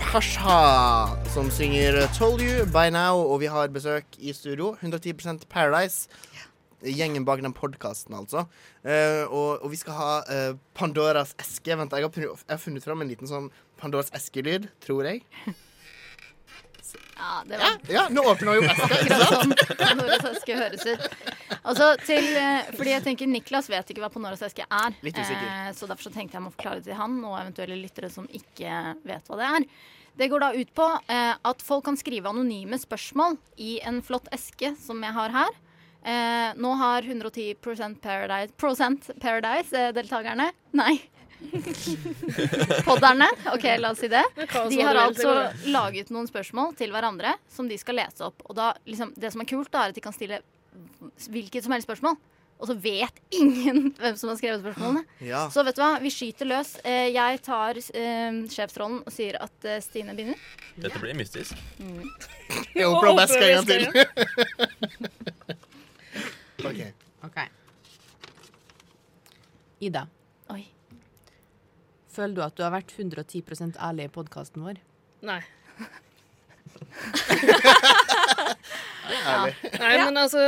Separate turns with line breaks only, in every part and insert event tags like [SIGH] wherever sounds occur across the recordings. Hasha, som synger uh, Told You By Now, og vi har besøk i studio. 110 Paradise. Gjengen bak den podkasten, altså. Eh, og, og vi skal ha eh, Pandoras eske. Vent, jeg har, pr- jeg har funnet fram en liten sånn Pandoras eskelyd, tror jeg.
Ja, det var
Ja, nå åpner hun jo
[LAUGHS]
eska.
akkurat sånn [LAUGHS] Pandoras eske høres ut. Altså, til, eh, fordi jeg tenker Niklas vet ikke hva Pandoras eske er.
Litt usikker.
Eh, så derfor så tenkte jeg må forklare det til han og eventuelle lyttere som ikke vet hva det er. Det går da ut på eh, at folk kan skrive anonyme spørsmål i en flott eske som jeg har her. Eh, nå har 110 Paradise, prosent Paradise eh, deltakerne Nei. [LAUGHS] Podderne. OK, la oss si det. De har altså laget noen spørsmål til hverandre som de skal lese opp. Og da, liksom, det som er kult, da, er at de kan stille hvilket som helst spørsmål. Og så vet [LAUGHS] ingen hvem som har skrevet spørsmålene.
Ja.
Så vet du hva, vi skyter løs. Eh, Jeg tar eh, sjefsrollen og sier at eh, Stine begynner.
Dette blir mystisk.
Jeg åpner opp eska en gang
[LAUGHS]
til. OK.
OK. Ida,
Oi.
føler du at du har vært 110 ærlig i podkasten vår?
Nei.
Ærlig.
Nei, men altså,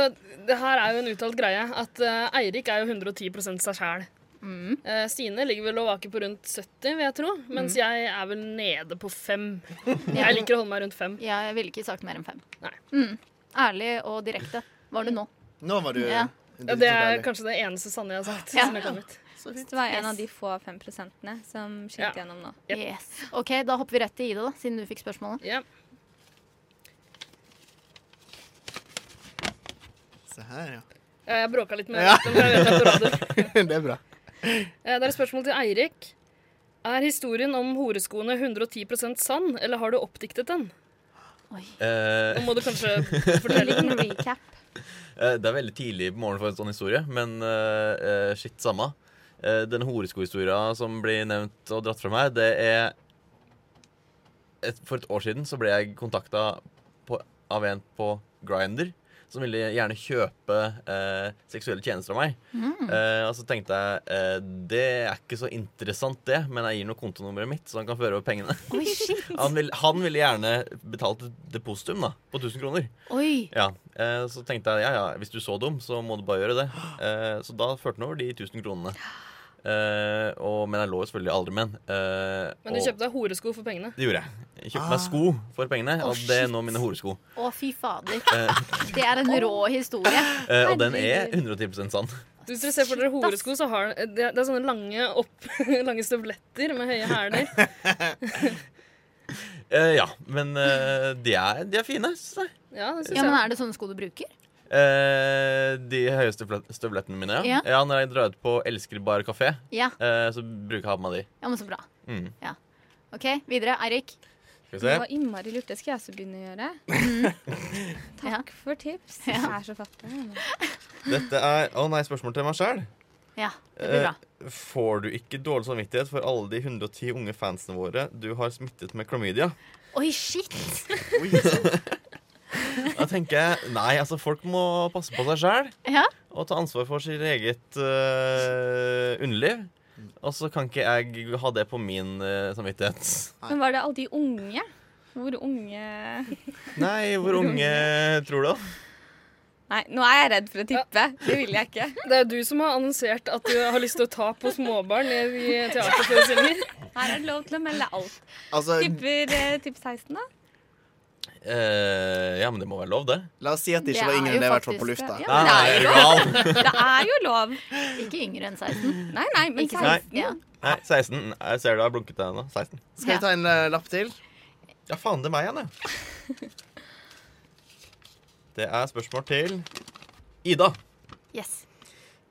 det her er jo en uttalt greie. At eh, Eirik er jo 110 seg sjæl.
Mm.
Eh, Stine ligger vel og vaker på rundt 70, vil jeg tro. Mens jeg er vel nede på fem.
[LAUGHS]
Jeg liker å holde meg rundt fem.
Jeg ville ikke sagt mer enn fem.
Nei.
Mm. Ærlig og direkte. Var du nå?
Nå var du
Ja.
Ja, det er kanskje det eneste sanne jeg har sagt.
Ja.
som jeg kom ut.
Så fint.
Det var en
Yes.
av de få fem prosentene som skinte
Ja.
gjennom nå.
Yep.
Yes. OK, da hopper vi rett til Ida, da, siden du fikk spørsmålet.
Ja.
Se her, ja. [LAUGHS]
Ja, Jeg bråka litt med
Ja.
den, for jeg vet det er på radio.
Det er bra.
Eh, Det er et spørsmål til Eirik. Er historien om horeskoene 110 sann, eller har du oppdiktet den?
Oi.
Nå
Eh,
må du kanskje
En
fortelle den.
liten recap.
eh, det er veldig tidlig på morgenen for en sånn historie, men eh, eh, shit, samme. Eh, den horeskohistoria som blir nevnt og dratt fram her, det er et, For et år siden så ble jeg kontakta av en på Grinder som ville gjerne kjøpe eh, seksuelle tjenester av meg. Eh, og så tenkte jeg eh, det er ikke så interessant, det, men jeg gir nå kontonummeret mitt, så han kan føre over pengene.
Oi, shit.
Han, vil, han ville gjerne betalt et depositum da, på 1000 kroner.
Oi.
Ja, eh, Så tenkte jeg ja, ja, hvis du så dum, så må du bare gjøre det. Eh, så da førte han over de 1000 kronene. Eh, og, men jeg lå jo selvfølgelig aldri med den. Eh,
Men du
og-
kjøpte deg horesko for pengene.
Det gjorde jeg. Jeg kjøpte
Ah.
meg sko for pengene,
Å,
og det er
shit.
nå mine horesko.
Å, fy fader.
[LAUGHS] Eh.
Det er en rå
[LAUGHS]
historie.
Eh, og den er 110 sann.
Du, Hvis dere ser for dere horesko, så har det, det er sånne lange, opp, [LAUGHS] lange støvletter med høye hæler.
Eh, ja, men eh, de, er, de er fine, syns jeg.
Ja, det synes
Ja, men
jeg.
Er det sånne sko du bruker?
Eh, de høyeste flet- støvlettene mine, ja.
Ja.
ja. Når jeg drar ut på Elskerbar kafé,
Ja,
eh, så bruker jeg å ha på meg de.
ja men så bra.
Mm.
Ok, Videre. Eirik.
Skal vi
Det
se.
var innmari lurt. Det skal jeg også begynne å gjøre.
Ja.
Takk for tips. Jeg er så fattig.
Dette er Å nei, spørsmål til meg sjæl.
Ja, det
Eh.
blir bra.
Får du ikke dårlig samvittighet for alle de 110 unge fansene våre du har smittet med klamydia?
Oi, shit!
Oi,
Da tenker jeg nei, altså folk må passe på seg sjæl
Ja.
og ta ansvar for sitt eget eh, underliv. Og så kan ikke jeg ha det på min eh, samvittighet.
Men var det alle de unge? Hvor unge
Nei, hvor unge tror du? da?
Nei, nå er jeg redd for å tippe. Det vil jeg ikke.
Det er jo du som har annonsert at du har lyst til å ta på småbarn i i teaterforestillinger.
Her er det lov til å melde alt.
Altså,
Tipper eh, tipp 16, da?
Eh, ja, men det må være lov, det.
la oss si at det ikke
Det
var
er
yngre
jo
enn det, i hvert fall på
faktisk
lufta.
det.
Nei,
Ja. Nei,
er du gal?
Det er jo lov.
Ikke yngre enn 16.
Nei, nei, men
Ikke
16.
sant? Ja.
Nei, 16. Jeg ser du har blunket deg nå. 16.
Skal vi ta en eh, lapp til?
Ja, faen, det er meg igjen, det. Det er spørsmål til Ida.
Yes.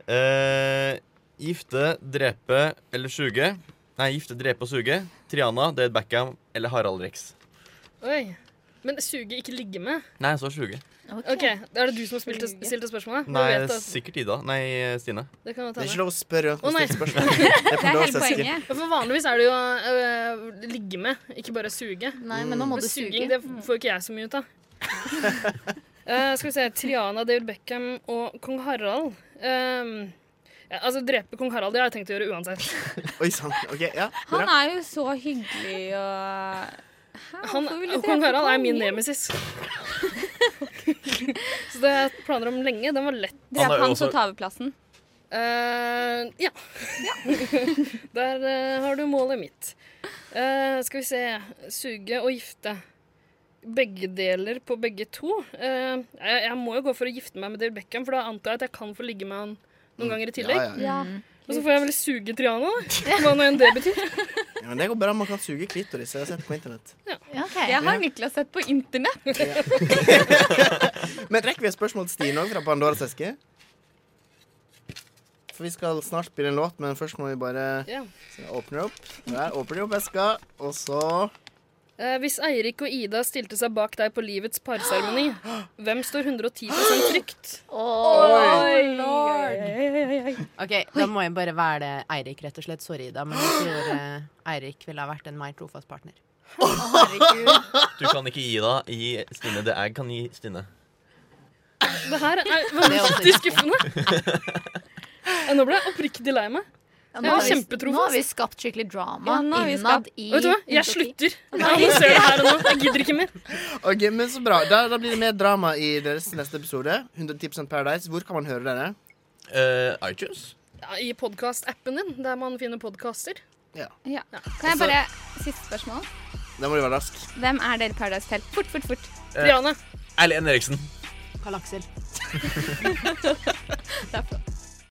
Eh, gifte, drepe eller suge? Nei, gifte, drepe og suge. Triana, Dade Beckham eller Harald Rex?
Oi. Men suge, ikke ligge med.
Nei, så suge.
Ok, Er det du som har spilt, stilt det spørsmålet? Du
Nei,
vet
det er
at-
sikkert Ida. Nei, Stine.
det kan godt
Det er
hende.
ikke lov å spørre rundt
Å, nei.
med stilt spørsmål. Det er
Det er
Pandoras
hele
eske.
poenget.
Ja, For vanligvis er det jo øh, ligge med, ikke bare suge.
Nei, men nå må
Men
du
suging,
suge. Mm.
det får ikke jeg så mye
[LAUGHS]
ut av. Eh, skal vi se Triana, David Beckham og kong Harald. Ehm, ja, altså, drepe kong Harald, det har jeg tenkt å gjøre uansett.
Oi sann. Ok, ja.
Han
Bra.
er jo så hyggelig og
Han,
Hvorfor vil du
og
drepe
kong Harald er min
kongen?
nemesis. [LAUGHS] Så det har jeg hatt planer om lenge. Den var lett.
Han er
Drep
jo
han
også-
som tar over plassen.
Eh, ja. [LAUGHS] Der eh, har du målet mitt. Eh, skal vi se Suge og gifte. Begge deler på begge to. Eh, jeg, jeg må jo gå for å gifte meg med Dale Beckham, for da antar jeg at jeg kan få ligge med han noen ganger i tillegg.
Ja, ja, ja.
Ja.
Og så får jeg vel suge Triana, da. Hva nå enn det betyr.
Ja, Men det går bra. Man kan suge klitoris. Jeg har sett på internett.
Ja, ok.
Jeg har Niklas sett på internett.
Men rekker vi et spørsmål til Stine òg, fra Pandoras eske? For vi skal snart spille en låt, men først må vi bare
Ja.
åpne opp. Der åpner de opp eska, og så
Eh, hvis Eirik og Ida stilte seg bak deg på livets parseremoni, hvem står 110 trygt?
Oi, lord.
OK, da må jeg bare være det Eirik, rett og slett. Sorry, da. Men jeg tror eh, Eirik ville ha vært en mer trofast partner.
Du kan ikke gi deg. Gi Stine det jeg kan gi Stine.
Det her er
Det er
vanvittig
også
skuffende. Ja, Nå ble jeg oppriktig lei meg.
Ja,
Jeg
nå,
var
har vi,
kjempetrofast.
nå har vi skapt skikkelig drama
Ja, nå har vi
innad
skapt-
i
Og Vet du hva? Jeg
Infoki.
slutter. Jeg annonserer det her og nå. [LAUGHS] Jeg gidder ikke mer.
OK, men så bra. Da, da blir det mer drama i deres neste episode. 110 Paradise. Hvor kan man høre dere?
Eh, iTunes?
Ja, I podkast-appen din, der man finner podkaster.
Ja. Kan jeg bare Siste spørsmål.
Da må du være rask.
Hvem er dere i Paradise Telt? Fort, fort, fort.
Triana.
Erlend Eriksen.
Karl Aksel.
Det er flott.